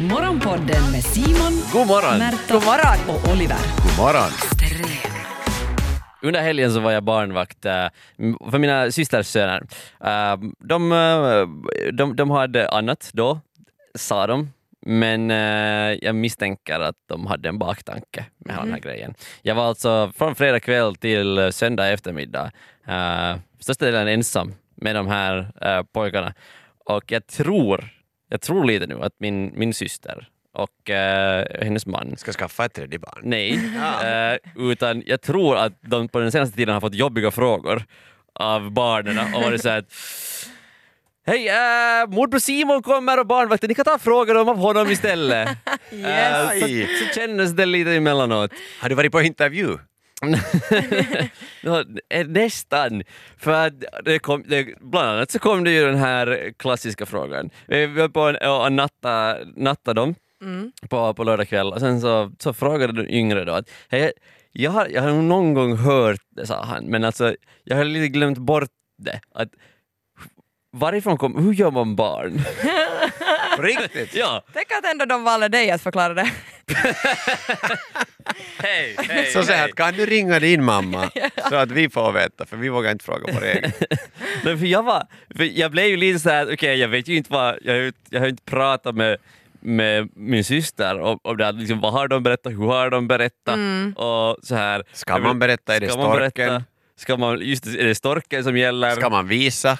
Morgonpodden med Simon, God morgon! Märta God morgon. och Oliver. God morgon. Under helgen så var jag barnvakt eh, m- för mina systrars söner. Eh, De, eh, de, de hade annat då, sa de. Men eh, jag misstänker att de hade en baktanke med hela den här grejen. Jag var alltså från fredag kväll till söndag eftermiddag eh, största delen ensam med de här eh, pojkarna. Och jag tror, jag tror lite nu att min, min syster och eh, hennes man Ska skaffa ett tredje barn. Nej, eh, utan jag tror att de på den senaste tiden har fått jobbiga frågor av barnen och varit så här att Hej, äh, morbror Simon kommer och barnvakten, ni kan ta frågor om av honom istället. Eh, så, Aj. så kändes det lite emellanåt. Har du varit på intervju? Ja, eh, Nästan. För att det kom, det, bland annat så kom det ju den här klassiska frågan. Vi var på en, och natta, natta dem på, på lördag kväll och sen så, så frågade den yngre då att Hej, jag, har, jag har nog någon gång hört det, sa han, men alltså jag har lite glömt bort det. Att, varifrån kom, hur gör man barn? På riktigt? ja, Tänk att ändå de valde dig att förklara det. hej, hej, Så säg att kan du ringa din mamma så att vi får veta för vi vågar inte fråga vår egen. Men för jag, var, för jag blev ju lite så här, okej jag vet ju inte vad, jag har ju jag har ju inte pratat med, med min syster om, om det här, liksom, vad har de berättat, hur har de berättat och så här. Ska Jag vill- man berätta? Är det ska man berätta? storken? Ska man, just det, är det storken som gäller? Ska man visa?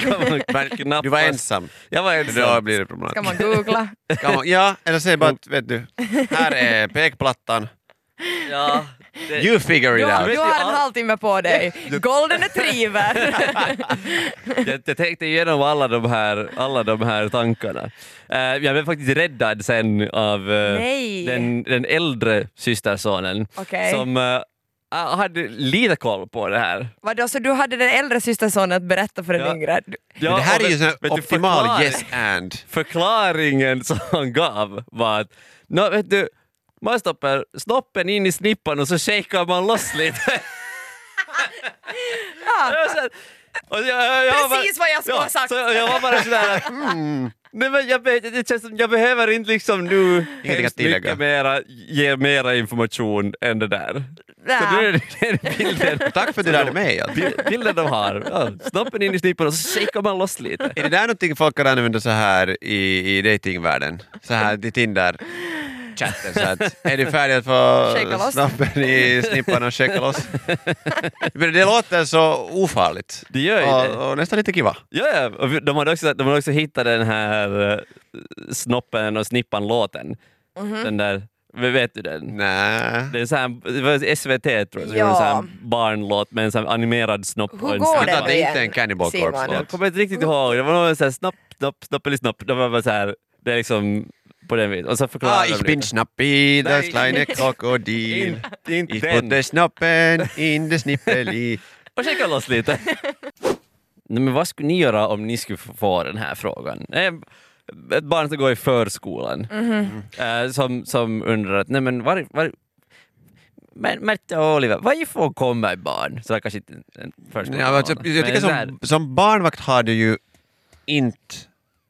Ska man knappast? Du var ensam. Jag var Då ensam. blir det Ska problematiskt. man googla? Ska man- Ja, eller säg bara att vet du, här är pekplattan. Ja, det, You figure Du it har, out. du har en halvtimme på dig. Golden retriever. jag, jag tänkte igenom alla de här, alla de här tankarna. Eh, jag blev faktiskt räddad sen av eh, Nej. den, den äldre systersonen Okej. som eh, hade lite koll på det här. Vadå, så du hade den äldre systersonen att berätta för den Ja. yngre? Du- Ja, Men det här och är ju vet- sån vet här du, optimal förklar- yes and. Förklaringen som han gav var att "Nå, vet du, man stoppar snoppen in i snippan och så shakar man loss lite. Ja. Och sen- och jag- jag- jag var bara- Precis vad jag skulle ha sagt. Så jag var bara sådär att, Nej, men jag, be- det känns som, jag behöver inte liksom nu Ingenting hemskt att tillägga. mycket mera, ge mera information än det där. Så nu är det den bilden, Tack för att du lärde mig. alltså. allt. bil- bilden de har. Ja, snoppen in i snippan och så shakar man loss lite. Är det där någonting folk kan använda så här i, i datingvärlden? Så här till Tinder? Chatten, så att, är du färdig att Shaka få loss. snabben i snippan och shaka loss? Men det låter så ofarligt. Det gör ju det. och, och nästan lite kiva. Ja, ja. Och vi- De, hade också, de hade också hittat den här eh, snoppen och snippan-låten. Mhm. Den där, vet du den? Nej. Det är så här, det var SVT tror jag, som Ja. gjorde en sån här barnlåt med en sån här animerad snopp och Hur en går snippa. det Vänta, nu det är igen? inte en Cannibal Simon? Jag Corpse-låt. kommer inte riktigt ihåg, det var någon sån här snopp, snopp, snopp eller snopp. De var bara så här, det är liksom på den viset. Och så förklarar Ah, de ich det. bin schnappi, das Nej. kleine Krokodil. Inte- inte Ich den. putte schnappen in de snippeli. och kika loss lite. Nej, men vad skulle ni göra om ni skulle få den här frågan? Eh, Ett barn som går i förskolan Mhm. eh, som, som undrar att, nej men var, var, men Märta och Oliver, varifrån kommer barn? Så det kanske inte är en förskola. Ja, men alltså, Men jag tycker en sån här- som, som barnvakt har du ju inte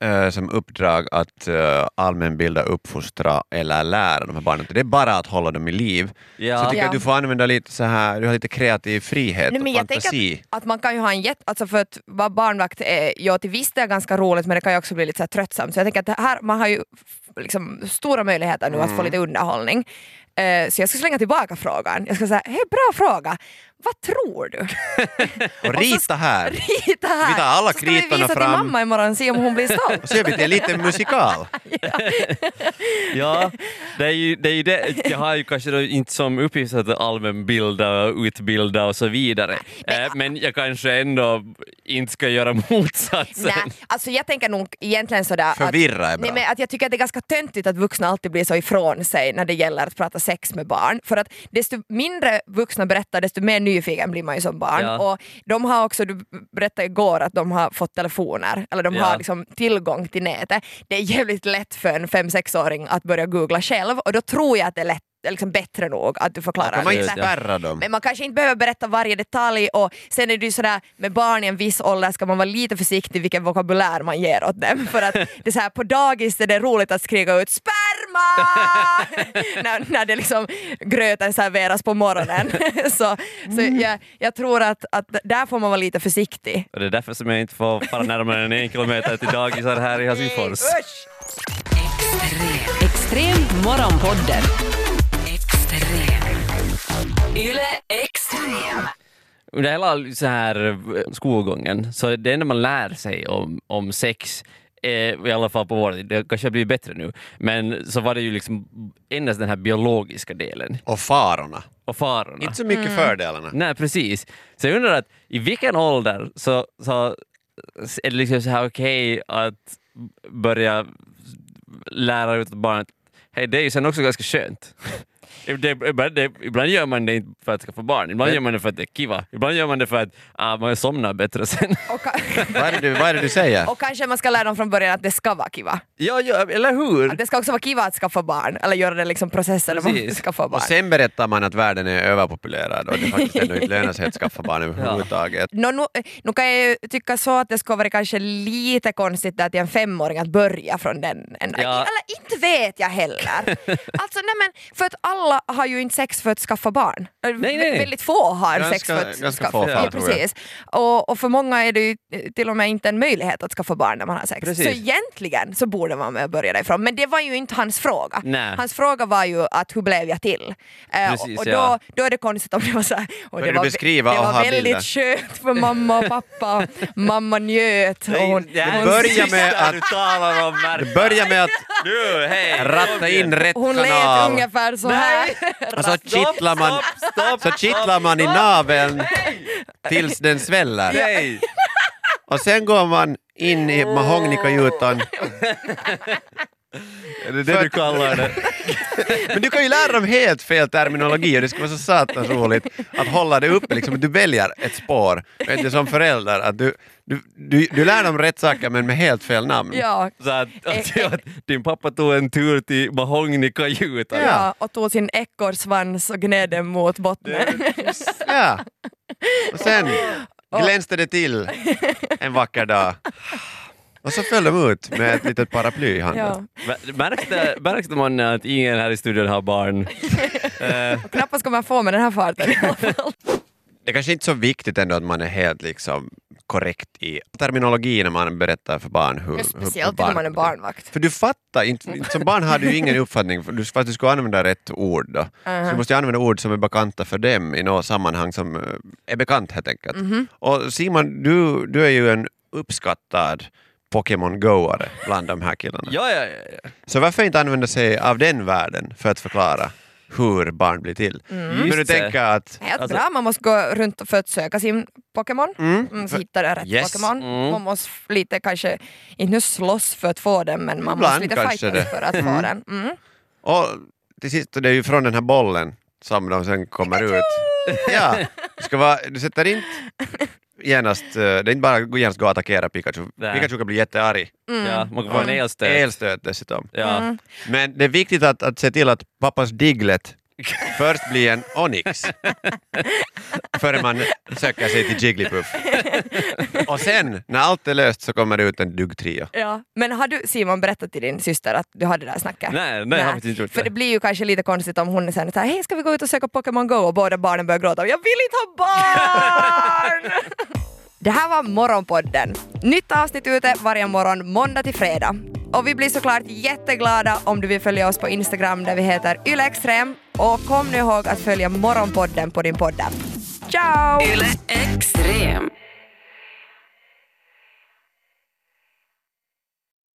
eh, som uppdrag att uh, allmänbilda, uppfostra eller lära de här barnen. Det är bara att hålla dem i liv. Så jag Ja, tycker Ja. att du får använda lite så här, du har lite kreativ frihet Nej, och men jag tänker fantasi. att, att man kan ju ha en jätte... Alltså för att vara barnvakt är ja, till viss del ganska roligt men det kan ju också bli lite så här tröttsamt. Så jag tänker att det här, man har ju f- liksom stora möjligheter nu Mm. att få lite underhållning. Eh, så jag ska slänga tillbaka frågan. Jag ska säga, hej bra fråga, vad tror du? Och rita här! Rita här! Vi tar alla så ska vi kritorna visa till fram. mamma imorgon och se om hon blir stolt. Och så gör vi det lite musikal. Ja, det är ju det. Är ju det. Jag har ju kanske då inte som uppgift att allmänbilda och utbilda och så vidare. Eh, Men jag kanske ändå inte ska göra motsatsen. Nej, alltså jag tänker nog egentligen sådär Förvirra är att, bra. nej, men att jag tycker att det är ganska töntigt att vuxna alltid blir så ifrån sig när det gäller att prata sex med barn. För att desto mindre vuxna berättar desto mer nyfiken blir man ju som barn. Ja. Och de har också, du berättade igår att de har fått telefoner, eller de Ja. har liksom tillgång till nätet. Det är jävligt lätt för en 5-6-åring att börja googla själv och då tror jag att det är lätt liksom bättre nog att du förklarar Kan man inte Absolut, ja. lite. spärra dem? Men man kanske inte behöver berätta varje detalj och sen är det ju sådär med barn i en viss ålder ska man vara lite försiktig vilken vokabulär man ger åt dem för att det är så här, på dagis är det roligt att skrika ut sperma när, när det liksom gröten serveras på morgonen. så så jag, jag tror att, att där får man vara lite försiktig. Och det är därför som jag inte får fara närmare än en kilometer till dagisar här i Helsingfors. Usch! Extrem. Extrem morgonpodden. Extrem. Yle Extrem. Under hela så här eh, skolgången, så det enda man lär sig om, om sex eh, i alla fall på vår tid, det kanske har blivit bättre nu, men så var det ju liksom endast den här biologiska delen Och farorna. och farorna. Inte så mycket Mm. fördelarna. Nej, precis. Så jag undrar att i vilken ålder så, så är det liksom så här okej att börja lära ut åt barnet Hej, det är ju sen också ganska skönt. Det, ibland- det, ibland gör man det inte för att skaffa barn, ibland gör man det för att det är kiva, ibland gör man det för att ah, man somnar bättre sen. Och, ka- Vad, är det du, vad är det du säger? och kanske man ska lära dem från början att det ska vara kiva. ja, ja, eller hur? Att det ska också vara kiva att skaffa barn, eller göra det liksom processen att Precis. skaffa barn. Och sen berättar man att världen är överpopulerad och det faktiskt ändå inte lönar sig att skaffa barn överhuvudtaget. Nå, nu, nu kan jag ju tycka så att det skulle vara kanske lite konstigt där till en femåring att börja från den änden. Ja. Eller inte vet jag heller. alltså nej men, för att alla har ju inte sex för att skaffa barn. Eller Nej, nej, nej. Väldigt få har Ganska- sex för att ganska skaffa få fall, ja, tror jag. precis. Och, och för många är det ju eh, till och med inte en möjlighet att skaffa barn när man har sex. Precis. Så egentligen så borde man med börja därifrån. Men det var ju inte hans fråga. Nej. Hans fråga var ju att hur blev jag till? Eh, Precis, och och då, ja. då är det konstigt om det var så här, och Börjar du beskriva det och var ha väldigt bilder? skönt för mamma och pappa. mamma njöt. Och hon, Det här är Men börja det sista med att- du talar om Märta. Börja med att Nu, hej! ratta in rätt hon lät kanal. ungefär så här. Alltså, Och så kittlar man, Stopp, stopp, så stopp, kittlar man i stopp. naveln tills den sväller. Nej! Och sen går man in i mahognikajutan. Är det det du kallar det? Men du kan ju lära dem helt fel terminologi och det skulle vara så satans roligt att hålla det uppe. Liksom, du väljer ett spår, vet du, som förälder. Att du, du, du, du lär dem rätt saker men med helt fel namn. Ja. Så att, att, Eh, eh. att din pappa tog en tur till Mahognikajutan. Ja, och tog sin ekorrsvans och gned den mot botten. Ja. Och sen glänste det till en vacker dag. Och så föll de ut med ett litet paraply i Ja. handen. Mär- Märkte, märkte man att ingen här i studion har barn? Och knappast kommer man få med den här farten. Det är kanske inte är så viktigt ändå att man är helt liksom korrekt i terminologi när man berättar för barn hur, hur, hur Speciellt när man är barnvakt. För du fattar inte, inte- som barn har du ju ingen uppfattning för du- för att du ska använda rätt ord då. Så du måste ju använda ord som är bekanta för dem i något sammanhang som eh, är bekant helt enkelt. Och Simon, du, du är ju en uppskattad Pokémon Go-are bland de här killarna. Ja, ja, ja. ja. Så varför inte använda sig av den världen för att förklara hur barn blir till? Mm. Just du det. tänka att Helt Alltså- bra, man måste gå runt för att söka sin Pokémon. Mm, så hittar jag rätt Yes. Pokémon. Mm. Man måste lite kanske, inte nu slåss för att få den men man Ibland måste lite kanske det. fightas för att få den. Mm. Och till sist, det är ju från den här bollen som de sen kommer ut. Ja, du, ska vara, du sätter inte genast, eh, det är inte bara att genast gå och attackera Pikachu. Nej. Pikachu kan bli jättearg. Mm. ja man kan få en elstöt. Elstöt dessutom. Ja. Men det är viktigt att, att se till att pappas Diglett först blir en Onyx. Före man söker sig till Jigglypuff. Och sen, när allt är löst, så kommer det ut en duggtrio. Ja. Men har du Simon berättat till din syster att du hade det där snacket? Nej, nej, jag har faktiskt inte gjort För det det. blir ju kanske lite konstigt om hon är sen så här, hej ska vi gå ut och söka Pokémon Go och båda barnen börjar gråta. Jag vill inte ha barn! det här var Morgonpodden. Nytt avsnitt ute varje morgon måndag till fredag. Och vi blir såklart jätteglada om du vill följa oss på Instagram där vi heter ylextrem. Och kom nu ihåg att följa Morgonpodden på din podd. Ciao! Yle Extrem.